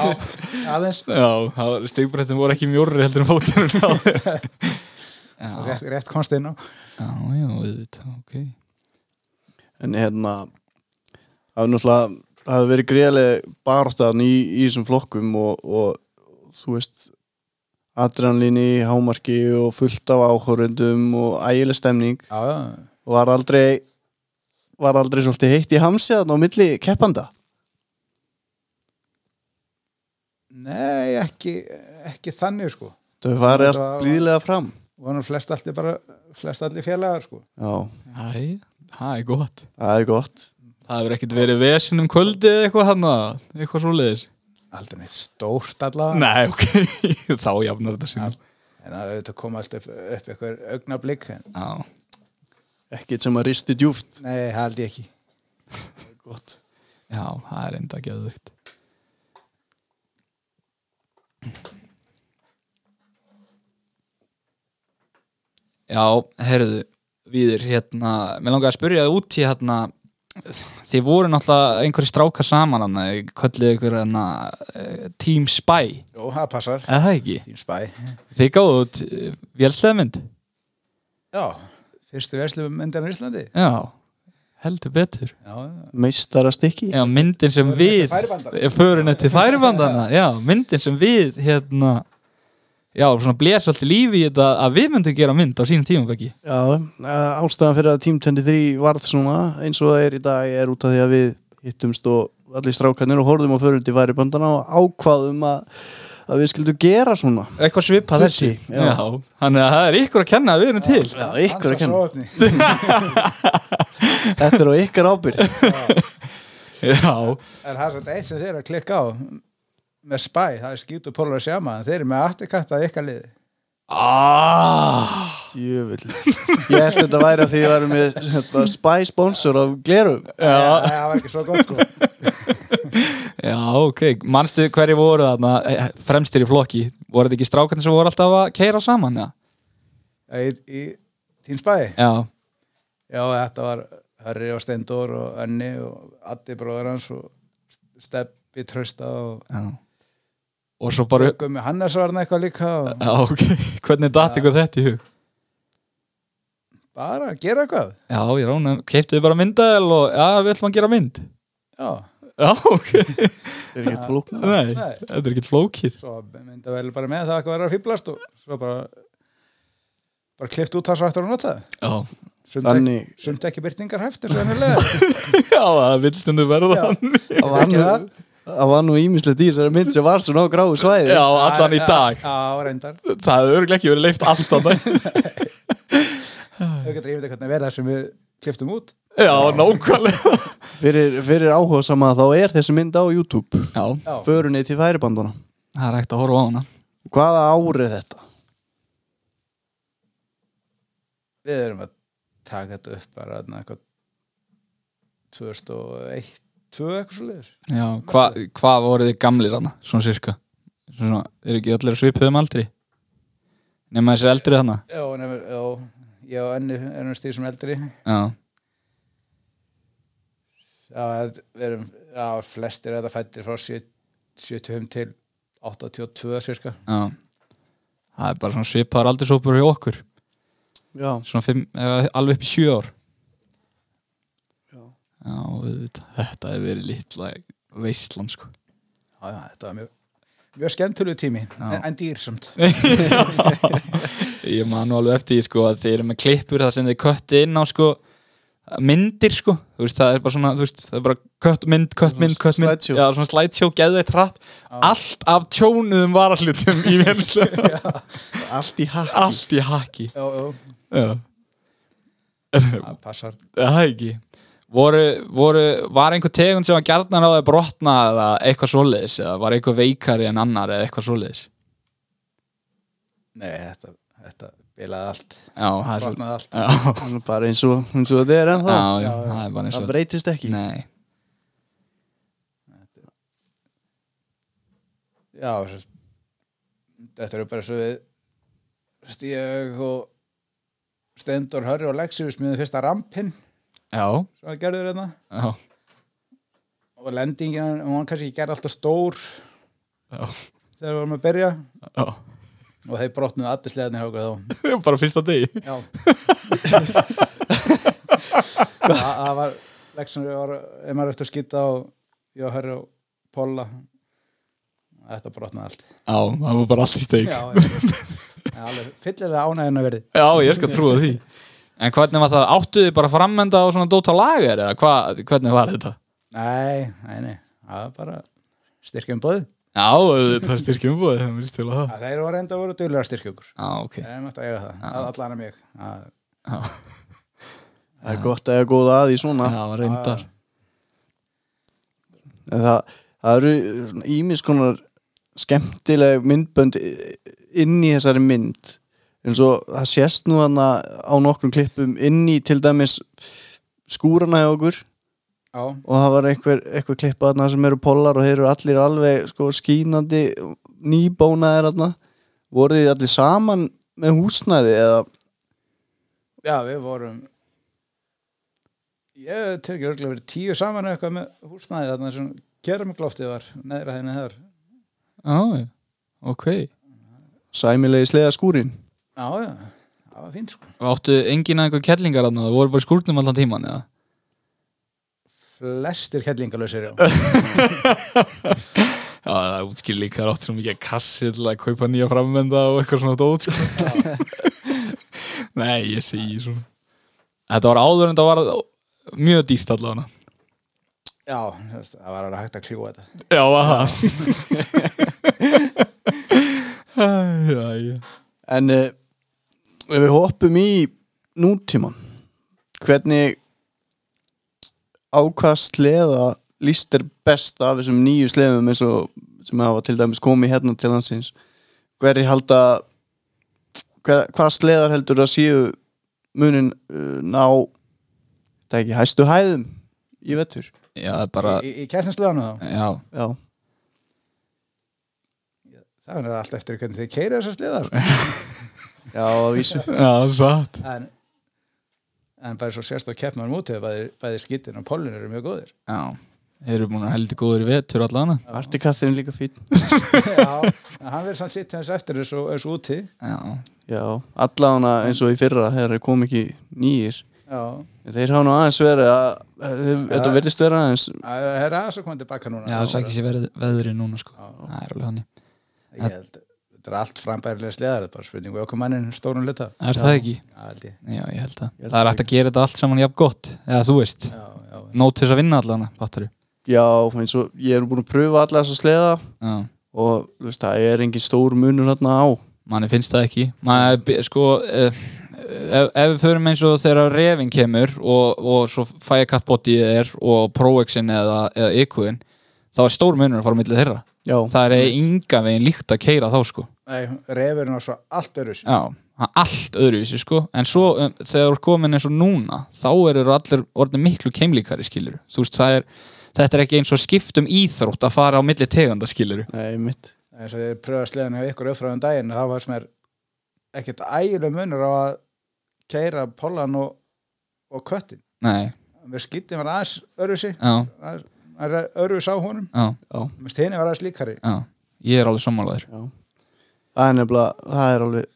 C: aðeins
A: já stegbrettin voru ekki mjórri heldur en fótunum á þér
C: og
A: já,
C: rétt, rétt komst inn á
A: já, já, auðvitað, ok
B: en hérna það hefur náttúrulega það hefur verið greiðlega barðan í, í þessum flokkum og, og þú veist adrenalín í hámarki og fullt af áhórundum og ægileg stemning
C: já, já,
B: og var aldrei var aldrei svolítið heitt í hamsiðan á milli keppanda
C: nei, ekki ekki þannig sko
B: þau farið
C: Þetta
B: allt
C: var-
B: blíðlega fram
C: voru nú flest allir bara flest allir félagar sko
B: já,
A: Æ, það er gott
B: það er gott
A: Það hefur ekkert verið vesinn um kvöldi eða eitthvað hann eitthvað svoleiðis
C: aldrei neitt stórt allavega
A: Nei, ok, [LAUGHS] þá jafnar þetta sinni
C: en það er auðvitað kom allt upp, upp ykkur augnablík en
A: Já,
B: ekkert sem að risti djúft
C: nei, það held ég ekki
B: gott.
A: já, það er enda geðvikt Já, heyrðu Viður, hérna, mér langar að spyrja þið út í hérna Þið voru náttúrulega einhverjir strákar saman hann Kölluðu ykkur hérna eh, Team Spy
C: jú, það passar
A: Eða það ekki?
C: Team Spy
A: Þið gáðu út eh, vélsleðmynd
C: já fyrstu verslu myndan á Íslandi
A: Já, heldur betur
C: já,
B: meistarastykki
A: Já, myndin sem við
C: færibandana.
A: Eh, Förum þetta til færibandana Já, myndin sem við hérna Já, svona blés allt í lífi í þetta að við myndum gera mynd á sínum tímum ekki
B: Já, eh, ástæðan fyrir að Team 23 varð svona eins og það er í dag er út af því að við hittumst og allir strákanir og horfðum á förundi væri bandana og ákvaðum að, að við skildum gera svona
A: Eitthvað svipað þessi
B: Hluti, já.
A: Já, þannig að það er ykkur að kenna að við erum til
B: Já, ykkur að kenna,
C: kenna
B: þetta er á ykkar ábyrg
A: Já,
C: er það svona eitt sem þeir eru að klikka á með Spy, það er skýt og polar sjama en þeir eru með afturkatt að ykkar liði
A: ah,
B: Jöfull Ég held þetta væri að því að við erum með hérna, spy sponsor af glerum
A: já,
C: Nei, það var ekki svo gott sko
A: já, ok Manstu hverju voru þarna eh, fremstir í flokki Voru þetta ekki strákarnir sem voru alltaf að keira saman Já,
C: í, í Team Spy
A: já,
C: Já, þetta var Harry og Steindor og Önni og Addi bróður hans og Steppi Trösta og
A: já. Og svo bara
C: Gummi Hannes var hann eitthvað líka og
A: Já, ok, [LAUGHS] hvernig datt ykkur þetta í hug?
C: bara að gera eitthvað
A: Já, ég rána, keiptu þið bara myndaðel og já, við ætlum að gera mynd
C: Já,
A: Já, [LAUGHS] ok,
B: Er ekki flóknar
A: nei,
C: Nei.
A: þetta er ekkert flókið
C: svo mynda vel bara með það að vera að fýblast og svo bara bara klift út það svo eftir að nota
A: Já,
C: Sumt ekki-
B: Þannig,
C: sumt ekki byrtingar hæftir svo [LAUGHS] hennilega
A: [LAUGHS] já, það vil stundu verða
C: Já.
A: þannig.
B: það var nú,
C: það?
B: það var nú ímislegt í þessari mynd sem var svona á gráu svæði
A: Já, allan í dag
C: Já, reyndar
A: Það hefur örglega ekki verið leift allt [LAUGHS] annað
C: Þau getur ímyndið hvernig verða sem við kliftum út
A: Já, nákvæmlega
B: Fyrir, fyrir áhuga sama þá er þessi mynd á YouTube
A: Já,
C: Já,
B: Förunni til væri bandana
A: það er ekkert að horfa á hana
B: Hvaða ári er þetta?
C: við erum að taka þetta upp bara þarna eitthvað 2001 2 eitthvað svo liður
A: Já, hvað hva voru þið gamlir hana, svona sirka? Svona, er ekki allir svipuðum aldri? Nefna þessi eldri hana?
C: já, nefnir, já, ég og enni erum stíð sem eldri já,
A: Já,
C: þetta- við erum, já, flestir þetta fættir frá 7 75 til 82 cirka
A: já Það er bara svona svipaðar aldursópur hjá okkur
B: Já,
A: svona fimm, eða, alveg upp í sjö ár
B: Já.
A: já auðvitað, þetta hefur verið litla veistlan sko
C: já, já, þetta var mjög mjög skemmtulegu tími,
A: Já.
C: en, en dýrsamt
A: ég man nú alveg eftir því sko að þið eru með klippur það sem þið kötti inn á sko myndir sko, þú veist það er bara svona þú veist, það er bara kött mynd, kött mynd, kött mynd
B: slideshow.
A: já svona slideshow, geðveitt hratt allt af tjónuðum varahlutum
B: [LAUGHS]
A: í velslu,
B: allt í hakki
A: allt í haki
C: já, já,
A: já,
C: það passar
A: það er ekki voru, voru, var einhver tegund sem var gjarnan á að brotna eða eitthvað svoleiðis eða var einhver veikari en annar eða eitthvað svoleiðis
C: nei, þetta, þetta bilaði allt,
A: Já, það er svo
C: brotnaði allt
A: Já,
B: Þannig bara eins og, eins og þetta er en það
A: já, já,
C: Já, já.
A: það er bara eins
B: það
A: og
B: breytist ekki
A: Nei,
C: já, þess- þetta eru bara svo við stíg og Stendur, Hörri og Lexi við smiðum fyrsta rampinn
A: já,
C: sem það gerður þetta
A: já,
C: og lendingin, hún var kannski gerði alltaf stór
A: já,
C: þegar við vorum að byrja
A: já. [LAUGHS]
C: og þeir brotnuðu allir sleðinni hjá okkur þá
A: Bara fyrsta degi
C: Já [LAUGHS] Það það var leksin við var ef maður eftir að skýta og ég var hörru og Pólla Þetta brotnaði allt
A: Já, það var bara allt í steik
C: Já,
A: Já,
C: ég- ég alveg fyllilega ánægðin að verði
A: ég skal trúa því En hvernig var það, áttu þið bara framenda á svona dóta lager eða hva, hvernig var þetta?
C: Nei, nei, nei, það var bara styrkjum bóð
A: Já, þetta var styrkjum búið, það mérst til að það
C: Þeir voru enda að voru duglega að styrkja okkur
A: Já, ok
C: Þeir mættu að eiga það, að allan að mig að,
A: Já,
B: það er gott að ég er góð að því svona
A: já reyndar
B: En það, það eru ímis konar skemmtileg myndbönd i- inn í þessari mynd eins og það sést nú hann á nokkrum klippum inn í til dæmis skúrana hjá okkur
C: Já,
B: og það var einhver, einhver klippa þarna sem eru pollar og þeir eru allir alveg sko, skínandi nýbónaðir þarna voru þið allir saman með húsnæði eða
C: já, við vorum Ég tek ekki örgulega verið tíu saman eða eitthvað með húsnæði þarna sem keramiklóftið var neðra henni þar
A: Já, já, ok
B: sæmilegi sleða skúrin
C: Já, já, það var fínt sko.
A: Áttu enginn að einhver kellingar að það voru bara í skúrnum allan tíman eða?
C: Flestir kellingalösir, já.
A: Já, það útskýr líka rátt svo mikið kassi til að kaupa nýja framvenda og eitthvað svona dót sko. [LAUGHS] Nei, ég segi svona Þetta var áður en það var mjög dýrt allavega
C: Já, þú veist, það var alveg hægt að kljúa þetta.
A: Já, var það [LAUGHS] Æ, já, já.
B: en eh, ef við hoppum í nútíman hvernig á hvað sleða líst er best af þessum nýju sleðum eins og sem hafa til dæmis komið hérna til hansins hverju halda hver, hvað sleðar heldur að séu munin uh, ná það ekki hæstu hæðum í vettur
A: já það er bara
C: Í, í kjærtinsleðanu þá.
A: Já,
B: já,
C: Það er allt eftir hvernig þið keira þessar sleðar. sko.
B: já að vísu
A: já, satt
C: En, en bara svo sérst og keppnum útið, bæði, bæði skittin og pollin eru mjög góðir.
A: Já, þeir eru búin að heldur góður í vetur allavega
B: artikattin líka fín
C: Já, en hann verður sann sitt hans eftir þessu, þessu úti.
A: Já,
B: já, allavega eins og í fyrra þegar þeir kom ekki nýjir
C: Já,
B: Þeir hafa nú aðeins verið að þeir- þetta verðist vera aðeins
C: það er aðeins að koma tilbaka núna.
A: já það sækir sér veðri, veðri núna sko
C: Já.
A: Það er alveg hannig
C: Ég held, þetta er allt frambærilega sleðar, þetta er bara um spurningu okkur mannin stórun luta.
A: Er það ekki?
C: Já, held ég.
A: Já, ég held það.
B: Ég held
A: það er hægt að gera þetta allt saman jafn gott, eða þú veist.
C: Já, já, já.
A: Nót til þess að vinna allan, fattur þú?
B: Já, eins og ég er búin að pröfa alla þessa sleða
A: Já,
B: og þú veist, það er engin stór munur hérna á
A: manni finnst það ekki. Maður, er be- sko, eh, ef, ef við förum eins og þegar refin kemur og, og svo fæjakatbodyið er og proexin eða, eða ikuðin, þá er stór munur að fara á milli þeirra.
B: Já,
A: Það er enga veginn líkt að keira þá, sko.
C: Nei, refurinn var svo allt öðru sér.
A: Já, það er allt öðruvísi, sko. En svo, um, þegar þú er komin eins og núna, þá eru allir orðin miklu keimlíkari, skilur. Þú veist, það er, þetta er ekki eins og skiptum íþrótt að fara á milli tegunda, skilur.
B: nei, mitt
C: eins og ég pröfaði sleðan hjá ykkur uppfráðum daginn það var sem er ekkert ægileg munur á að keira pollan og, og köttin
A: Nei,
C: við skýttum var aðeins örfisi
A: já,
C: örfis á honum,
A: já,
B: Já,
C: mest henni var aðeins líkari
A: já Ég er alveg sammálaður
B: já Það er nefnilega, það er alveg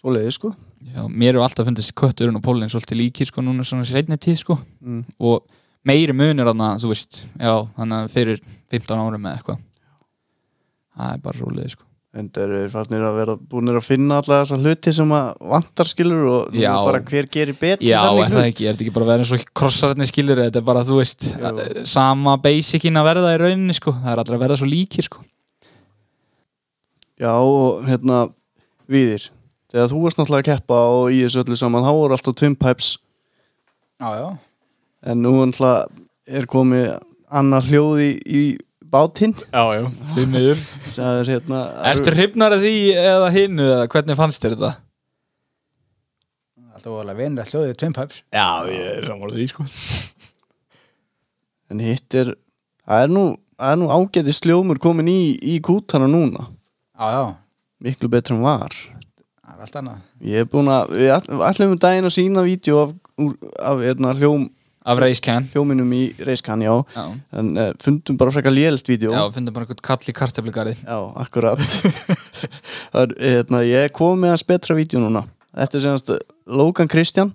B: svoleiði, sko
A: já, Mér hefur alltaf fundist kötturinn og pólinn svolítið líkir sko núna svona seinni tíð sko
B: mm.
A: og meiri munur þarna, þú veist já, þannig að fyrir 15 árum eða eitthvað Það er bara svoleiði sko
B: En það eru farnir að vera búinir að finna alla þessa hluti sem að vantar skilur og nú
A: Já.
B: er bara hver gerir betur
A: Já,
B: þannig
A: er það
B: hlut.
A: ekki, er þetta ekki bara að vera eins og krossararni skilur þetta er bara, þú veist, að, sama basicin að verða í rauninni sko, það er allra að verða svo líkir sko
B: Já, og hérna, viðir Þegar þú varst náttúrulega að keppa og í þessu öllu saman þá voru alltaf twin pipes
C: já, já,
B: En nú náttúrulega er komið annar hljóði í bátinn
A: Já, já, því miður
B: Það er hérna
A: Ertu hrifnar að því eða hinu eða hvernig fannst þér þetta?
C: Alltaf vorulega vinna hljóðið Twin Pipes
A: Já, ég er sammála því sko
B: En hitt er, það er nú, það er nú ágæti sljómur komin í, í kútana núna.
C: Já, já,
B: Miklu betur en var.
C: það er allt annað
B: Ég er búin að, við all- ætlum um daginn að sína vídeo af, úr, af hérna, hljóm,
A: Af reiskenn
B: hljóminum í reiskan, já.
A: Já,
B: En uh, fundum bara frekar lélt vídeo.
A: já fundum bara einhvern kall í kartöflugarði
B: Já, akkurat. [LAUGHS] það er, hérna, ég kom með hans betra vídeo núna. Þetta er semast Logan Christian,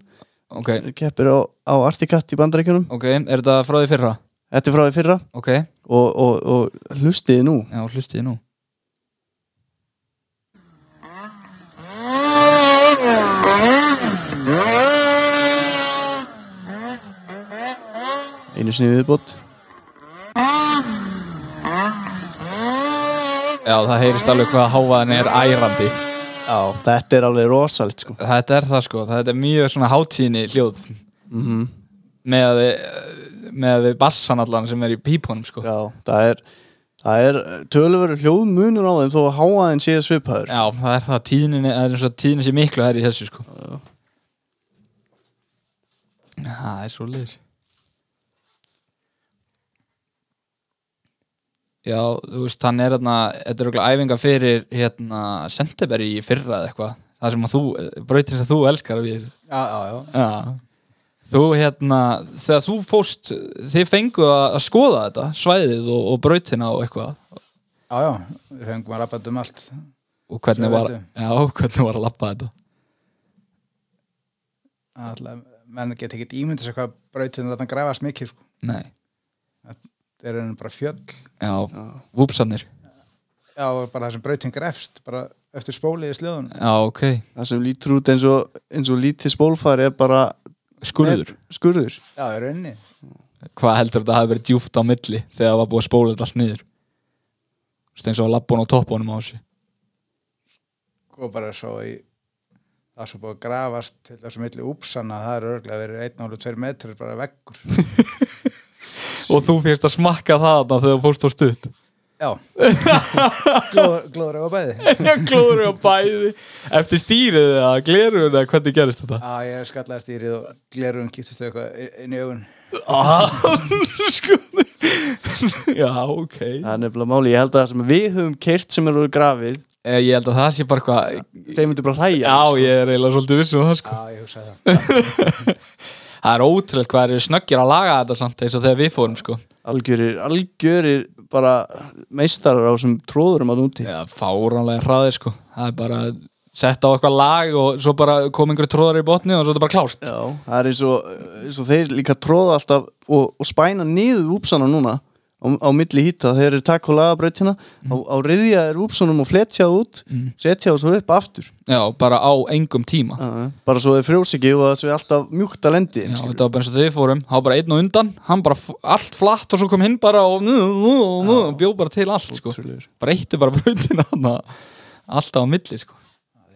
A: Ok,
B: keppir á, á Articat í bandarækjunum.
A: ok, er þetta frá því fyrra?
B: Þetta er frá því fyrra
A: Ok,
B: og, og, og hlustiði nú.
A: já, hlustiði nú
B: Einu sinni viðbót.
A: Já, það heyrist alveg hvað hávaðan er ærandi
B: Já, þetta er alveg rosalt, sko.
A: Þetta er það sko, þetta er mjög svona hátíðni hljóð
B: Mm
A: með að við með að við bassan allan sem er í pípunum sko
B: Já, það er það er tölveru hljóðmunur á þeim þó að háaðin sé svipaður
A: Já, það er það tíðnin er eins og tíðnin sé miklu herri í þessu sko Það er svo liður Já, þú veist, hann er þarna þetta er okkur æfinga fyrir hérna Senteberg í fyrra eða eitthvað það sem að þú, brautir sem þú elskar við
C: Já, já, já
A: Já Þú hérna, þegar þú fóst þið fenguð að að skoða þetta svæðið og, og brautina og eitthvað
C: Já, já, við fengum að rappað um allt
A: og hvernig
C: Svo
A: var,
C: veistu.
A: já, hvernig var að lappa þetta
C: Alltaf, menn get ekki ímyndið sér hvað brautin er að grafast mikið sko.
A: Nei,
C: Það eru bara fjöll
A: já, vúpsarnir
C: Já, og bara það sem brautin grefst bara eftir spólið í slöðun
A: Já, ok,
B: það sem lítur út eins og, eins og lítið spólfari er bara
A: skurður
B: skurður
C: Já, í rauninni
A: Hvað heldur þetta hafi verið djúft á milli þegar það var búið að spóla þetta allt niður Þú veist eins og að lappa hún á toppunum á þessu
C: og bara svo í það er svo búið að grafast til þessu milli úpsanna það er örglega verið 1,5-2 metrar bara veggur
A: Og þú fyrst að smakka það þarna þegar þú fórst á [LAUGHS] stutt
C: já glóður á bæði
A: Klóður á bæði Eftir stýrið eða gleruð eða hvernig gerist þetta
C: að ég skallaði stýrið og glerum kýttist eitthvað í- inn í augun
A: Ah, sko Já, ok
B: það er nefnilega máli, ég held að það sem við höfum keirt sem eru grafið,
A: Eh, Ég held að það sé bara eitthvað
B: þeim myndir bara hlæja
A: Já, ég er eiginlega svolítið vissum það sko
C: að ég hugsaði það
A: Það er ótrúlega hvað þeir eru snöggir að laga þetta samt eins og þegar við fórum sko
B: algjörir, algjörir bara meistarar á sem tróðurum að úti
A: Já, fáránlega hraðir sko Það er bara sett á eitthvað lag og svo bara kom einhverju tróðar í botni og svo er þetta bara klárt
B: Já, það er eins og, eins og þeir líka tróða alltaf og, og spæna niður úpsana núna á, á milli hýta, þeir eru takk og lagabrautina á, á riðja er úpsunum og fletja út, setja og svo upp aftur
A: Já, bara á engum tíma Mm. Já,
B: Já, bara svo þið frjósi ekki og það sé alltaf mjúkt að lendi inn, skilur.
A: þetta var bara eins og þegar við fórum Það var bara einn og undan, hann bara f- allt flatt og svo kom hinn bara og nú, nú, nú, bjó bara til allt sko
B: Ótrúlegur.
A: Breytti bara [LAUGHS] brautina hann alltaf á milli sko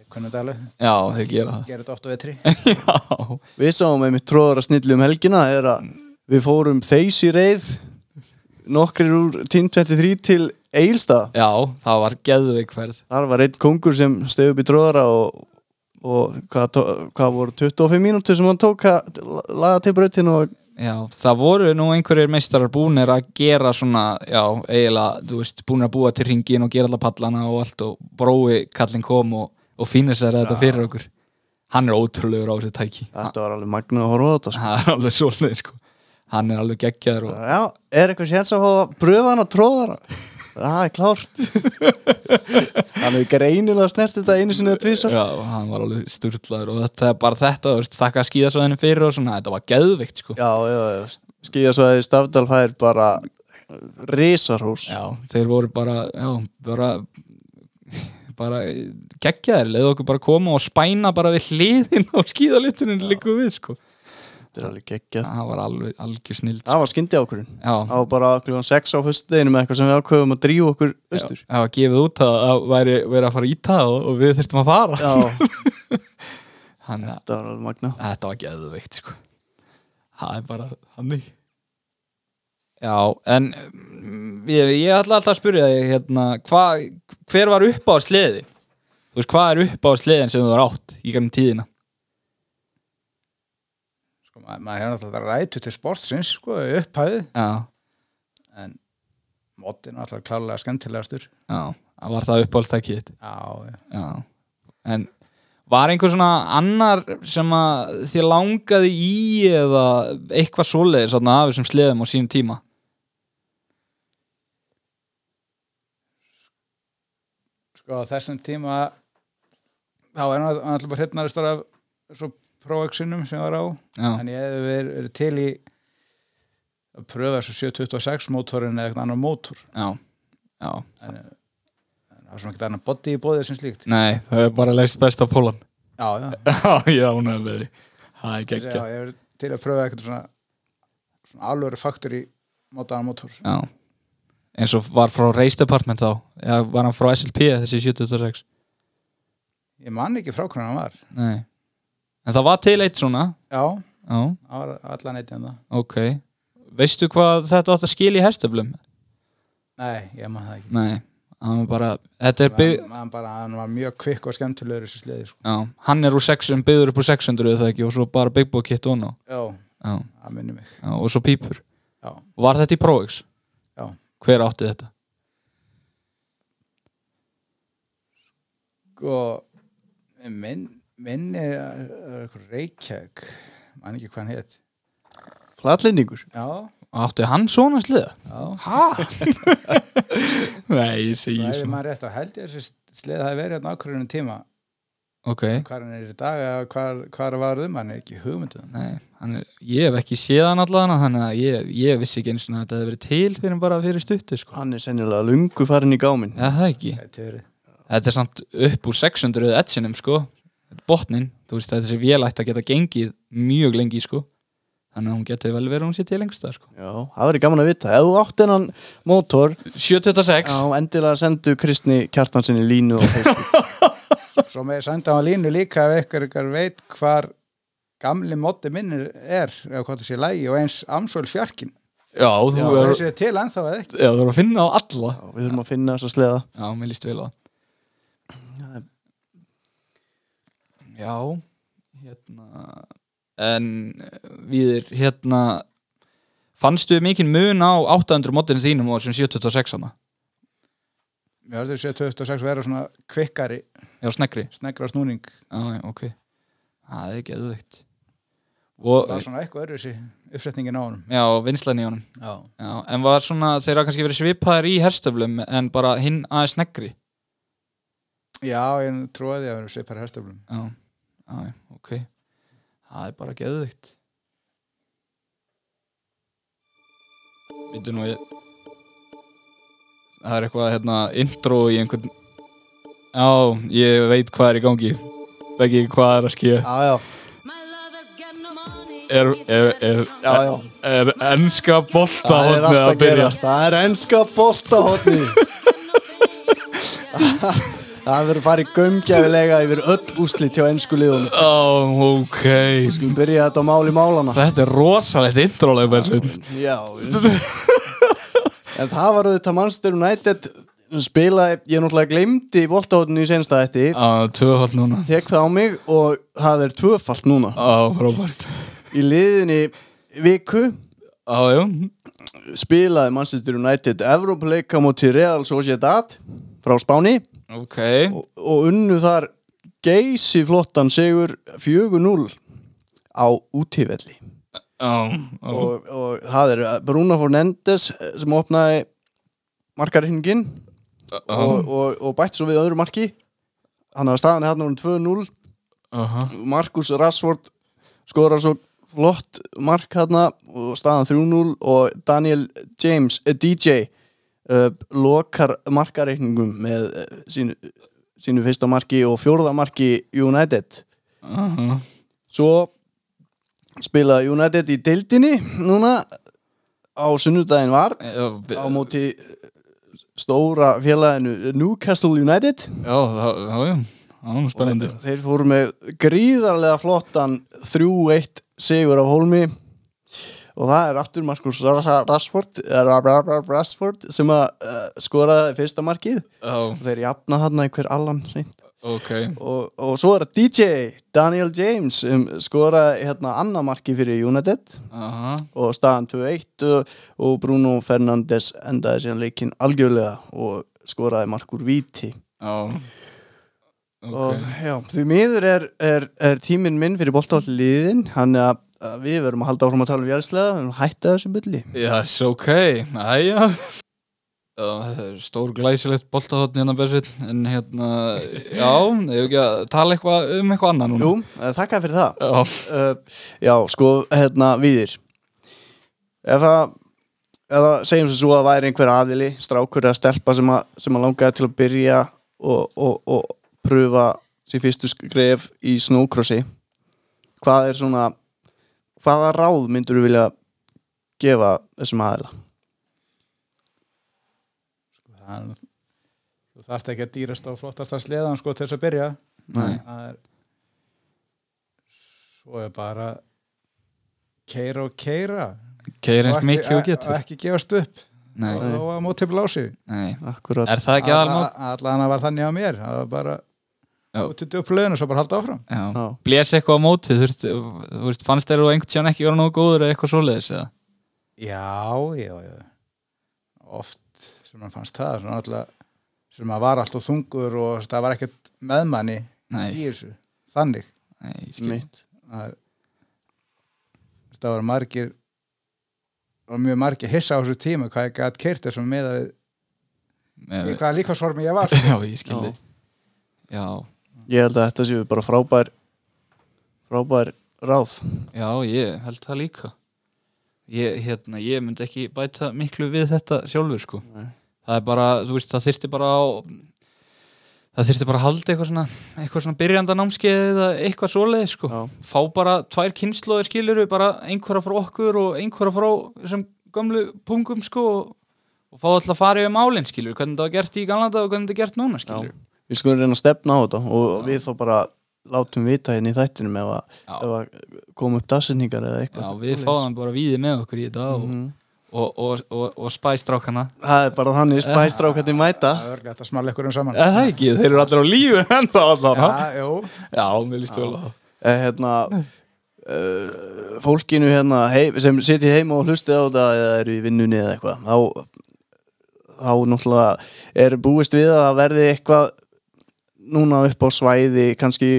C: kunnum þetta alveg
A: Já, þeir gera
C: gerir þetta oft á vetri
A: það Já,
B: Við sáum einmitt tróðara snillu um helgina er að við fórum þeis í reið nokkrir úr 1023 til Eilsta
A: Já, það var geðveik ferð
B: þar var einn kongur sem steg upp í tróðara og, og hvað, tó- hvað voru 25 mínútur sem hann tók að laga til brautin og
A: Já, það voru nú einhverjir meistarar búnir að gera svona, já, eiginlega, þú veist, búnir að búa til ringin og gera alla pallana og allt og brói kallinn kom og, og finnir sér þetta fyrir okkur. Hann er ótrúlegur á þessu tæki. Ha-
B: þetta var alveg magna að horfa á þetta sko.
A: Það er alveg svoleið, sko. Hann er alveg geggjaður og
B: Já, er eitthvað séns að hafa pröfa hann að tróðara? Það er klárt Hann hefur greinilega snert þetta einu sinni að tvísa
A: já, hann var alveg sturlaður og þetta er bara þetta, þú veist, þakka skíðasvæðinu fyrir og svona, þetta var geðvikt, sko.
B: Já, já, já, skíðasvæði Stafdal fær bara risarhús
A: Já, þeir voru bara, já, bara bara geggjaðir, leiðu okkur bara koma og spæna bara við hliðin á skíðalutinu líku við, sko.
B: Þetta er alveg geggja
A: það var alveg algjör snild
B: Það var skyndi ákvörðun
A: já,
B: Það var bara klukkan 6 á föstudeginu með eitthvað sem við ákveðum að drífa okkur austur
A: það var gefið út að það væri verið að fara í það og, og við þurftum að fara
B: [LAUGHS] Já,
A: Þannig að
B: þetta var alveg magna
A: þetta var geðveikt sko. það er bara hannig já, en mm, ég, ég ætla alltaf að spyrja þig hérna, hva, hver var upp á sliði þú veist, hvað er upp á sliðin sem þú var átt í gannum tíðina
C: Sko, Ma, maður hefur náttúrulega rætu til sportsins sko, í upphæðu
A: já,
C: en mótið er náttúrulega klálega skemmtilegastur
A: já, það var það uppáhaldstækið þitt?
C: já, já.
A: já, en var einhver svona annar sem að þér langaði í eða eitthvað svoleiðis þarna af þessum sleðum á sínum tíma
C: sko á þessum tíma þá er hann alltaf bara hreinnaristur af svo próvöksunum sem var á
A: já,
C: en ég hef verið, verið til í að pröfa þessu 726 mótorinn eða eitthvað annar mótor
A: já, já
C: en, en það er svona ekkert annar body í bóðið sem slíkt já,
A: nei, það er bara leist best á pólan
C: já,
A: já, já, hún er með því það er
C: já ég
A: geggja
C: hef verið til að pröfa eitthvað svona, svona alvöru faktor í mótaðan mótor
A: já, eins og var frá Race Department þá eða var hann frá SLP þessi 76
C: ég man ekki frá hvernig hann var
A: nei, en það var til eitt svona
C: já,
A: já,
C: hann var allan eitt en það
A: ok veistu hvað þetta átt að skilja í herstöflum?
C: nei, ég man það ekki
A: nei, hann var bara þetta er bygg
C: hann, hann, bara, hann var mjög kvikk og skemmtilegur í þessu sliði sko.
A: Já, hann er úr 600, byggður upp úr 600 eða það ekki og svo bara Big Boy Kit og ná
C: já,
A: já,
C: það minnir mig
A: já, og svo Pípur
C: já,
A: Var þetta í ProX?
C: já.
A: Hver átti þetta?
C: og Sko, minn, minni uh, Reykjavík man ekki hvað hann hétt
B: Flatlinningur
C: já,
A: Átti hann svona sliða?
C: já,
A: Hæ? [LAUGHS] Nei, ég segi
C: það er
A: svona
C: maður rétt að held ég að þessi slið hafi verið hérna ákvörðunum tíma
A: Ok,
C: hvað hann er í dag eða hvað, hvað var um hann ekki hugmyndum
A: nei, hann er, ég hef ekki séð hann allan þannig að ég, ég vissi ekki eins og þetta hefði verið til fyrir bara fyrir stuttu sko.
B: Hann er sennilega lungu farin í gámin
A: Já, það ekki
C: Gæti verið.
A: Þetta er samt upp úr 600 etsinum sko Þetta er Botnin, þú veist, þetta er sér vélægt að geta gengið mjög lengi sko Þannig að hún geti vel verið að hún sé til lengst það sko
B: Já, það verið gaman að vita Ef þú átt hennan mótor
A: 726
B: Já, endilega sendu Kristni Kjartansinni línu og
A: [LAUGHS]
B: Facebook
C: svo með senda á línu líka ef ykkur, ykkur veit hvar gamli móti minnir er eða hvað það sé lægi og eins Amsól Fjarkin
A: Já, þú
C: Já,
A: er,
C: það sé til ennþá eða ekki
A: já, þú er að finna á alla
B: Já, Við þurfum að finna þess að sleða
A: Já, mér líst vel á það Já, hérna En við hérna Fannstu mikinn mun á 800 mótinu þínum og sem 726 hana?
C: Mér verður 726 vera svona kvikkari,
A: Já, sneggri
C: snegra snúning
A: Já, já, ok Það er geðveikt Og,
C: Það var svona eitthvað öðruvísi uppsetningin á honum
A: já, vinslan í honum
C: Já,
A: Já, en var svona, þeir hafa kannski verið svipaðir í herstöflum en bara hinn aðeins sneggri
C: ég trúiði að vera svipar hestöflum
A: Já, já, já, ok Það er bara geðvikt Vindu nú ég Það er eitthvað hérna intro í einhvern Já, ég veit hvað er í gangi Beggi, hvað er að skýja
B: Já, já,
A: Er, er, er,
B: já, já
A: er ennska bolta
B: Það er alltaf
A: að
B: að
A: byrja
B: gerast Það er enska boltahotni Það verður farið gömgjafilega yfir öll úslit hjá ensku liðunum
A: Ó, ok
B: Skulum byrja þetta á máli málana
A: Þetta er rosalegt intro-leg Bergsveinn.
B: Já En það var auðvitað Manchester United spila, ég náttúrulega glemdi voltahotinu í sensta þetta
A: Já, tvöfald núna
B: tek það á mig og það er tvöfalt núna
A: Já, frábært
B: í liðinni viku
A: Já, já,
B: spilaði Manchester United Evropleika múti Real Sociedad frá Spáni
A: ok
B: og, og unnu þar geysi flottan sigur 4-0 á útífelli
A: Já, já.
B: og, og það er Bruno Fornendes sem opnaði markarhingin og, og, og bætt svo við öðru marki hann hafði staðan hérna um 2-0
A: Aha.
B: Markus Rassford skora svo flott mark hérna og staðan 3-0 og Daniel James, eh, DJ uh, lokar markareikningum með uh, sínu, sínu fyrsta marki og fjórða marki United
A: Aha.
B: svo spila United í deildinni núna á sunnudaginn var
A: Já, bi-
B: á móti stóra félaginu Newcastle United
A: já, það- já, já, það er spennandi
B: Þeir fóru með gríðarlega flottan 3-1 sigur á Hólmi og það er aftur Markus Rashford, eh, Ra- Ra- Ra- Rashford sem að uh, eh, skoraði fyrsta markið
A: Já,
B: og þeir jafna hann einhver allan seint.
A: ok
B: og, og svo er það DJ Daniel James sem skoraði hérna annamarki fyrir United
A: aha,
B: og staðan 2-1 og- og Bruno Fernandes endaði síðan leikinn algjörlega og skoraði markur víti
A: já
B: og
A: ok,
B: já, því miður er, er, er tíminn minn fyrir boltafalliðin hann er að að við verum að halda áfram að tala um jælslega við verum að hætta þessu byrli
A: yes, ok aðja það er stór glæsilegt boltahotn hérna Bersveit en hérna, já, ég hef ekki að tala eitthvað um eitthvað annað núna
B: Jú, eh, þakka fyrir það
A: Já,
B: uh, Já, sko, hérna, viðir Ef það ef það segjum sem svo að væri einhver aðili strákur eða stelpa sem að, sem að langaði til að byrja og, og, og pröfa sér fyrstu skref í snókrossi hvað er svona hvaða ráð myndur þú vilja gefa þessum aðila?
C: Hann- Þú þarft ekki að dýrast á flottasta sleðan sko til þess að byrja
A: Nei.
C: Það er Svo er bara keira og keira
A: keir eins
C: ekki-
A: mikið og
C: og
A: getur
C: ekki gefast upp
A: Nei,
C: og og að móti blási
A: nei
B: Akkurat,
A: Er það ekki aðalmátt?
C: Allan að var þannig á mér það var bara
A: Já.
C: mótið upp lögin og svo bara halda áfram
A: Já.
B: Já.
A: Blés eitthvað á móti, þurft, þú veist, fannst þér þú einhvern tíðan ekki vera nógu góður eða eitthvað svoleiðis eða?
C: Já, já, já Oft sem mann fannst það svona alltaf, sem maður var alltaf þungur og það var ekkert meðmanni í
A: Nei,
C: þessu, þannig
A: nei, ég skil.
B: mitt
C: það er- það var margir og mjög margir hissa á þessu tíma hvað ég gætt kert þessum með að
A: Með,
C: hvaða líkvarsformi ég var
A: já, ég skildi. Já,
B: Ég held að þetta séu bara frábær frábær ráð
A: já, ég held það líka. Ég, hérna, ég myndi ekki bæta miklu við þetta sjálfur, sko.
B: Nei.
A: Það er bara, þú veist, það þyrfti bara á, það þyrfti bara að halda eitthvað svona, eitthvað svona byrjanda námskeið eða eitthvað svoleiðis, sko.
B: Já.
A: Fá bara tvær kynnslóðir skilur við, bara einhverja frá okkur og einhverja frá þessum gömlu pungum, sko, og, og fá alltaf að fara yfir málinn, skilur við, hvernig það var gert í gamla dag og hvernig þetta er gert núna, skilur
B: Já. Við skulum reyna að stefna á þetta og við þá bara látum vita hérna í þættinum ef að,
A: Já.
B: ef að koma upp dagsetningar eða
A: Já,
B: eitthvað.
A: við fáum bara víði með okkur í þetta
B: Mhm.
A: og, og, og, og, og spæstrákana
B: Það er bara
A: [LAUGHS]
B: þannig spæstrákarnir mæta.
C: það er örglega að smala ykkur um saman
A: Það er ekki, þeir eru allir á lífi [LAUGHS] ennþá allan
C: Já, jú,
A: Já, mér líst vel á það.
B: Eh, Hérna, uh, fólkinu hérna hei, sem sitja heima og hlustið á þetta eða eru í vinnunni eða eitthvað. Þá, þá náttúrulega er búist við að það verði eitthvað núna upp á svæði, kannski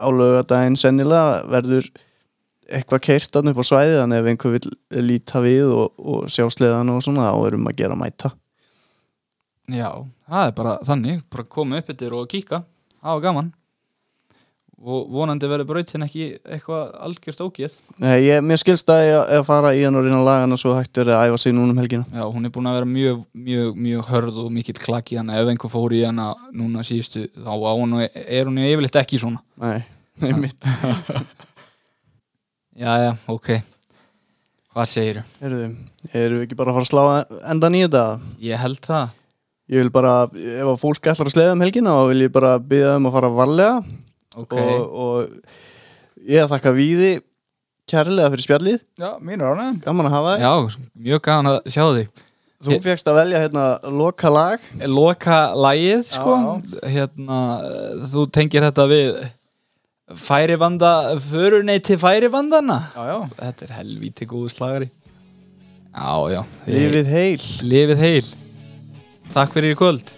B: á laugardaginn sennilega verður eitthvað keirtan upp á svæði þannig ef einhver vil líta við og, og sjá sleðan og svona þá erum að gera að mæta
A: Já, það er bara þannig bara koma upp yfir og kíka á gaman og vonandi verður brautin ekki eitthvað algjört ógið
B: Nei, ég, mér skilst að ég að fara í hann og reyna lagana svo hægt verið að æfa sig núna um helgina
A: Já, hún er búin að vera mjög, mjög, mjög hörð og mikill klaki hann ef einhver fór í hana núna síðustu þá á hún og e- er hún yfirleitt ekki svona
B: Nei, [LAUGHS] nei mitt
A: Já, já, ok Hvað segirðu?
B: Heyrðu, erum við ekki bara að fara að slá endan í þetta?
A: Ég held það
B: Ég vil bara, ef að fólk ætlar að sleða um helgina þá vil ég bara byggja um að fara varlega
A: Ok,
B: og, og ég þakka Víði kærlega fyrir spjallið,
C: já, mínu ránaðin
B: gaman að hafa þig
A: já, mjög gaman að sjá þig
B: Þú fegst að velja hérna loka lag
A: loka lagið sko. hérna, þú tengir þetta við færivanda förunei til færivandana
C: Já, já,
A: þetta er helvíti góðu slagari já, já,
B: Lífið heil
A: lifið heil takk fyrir í kvöld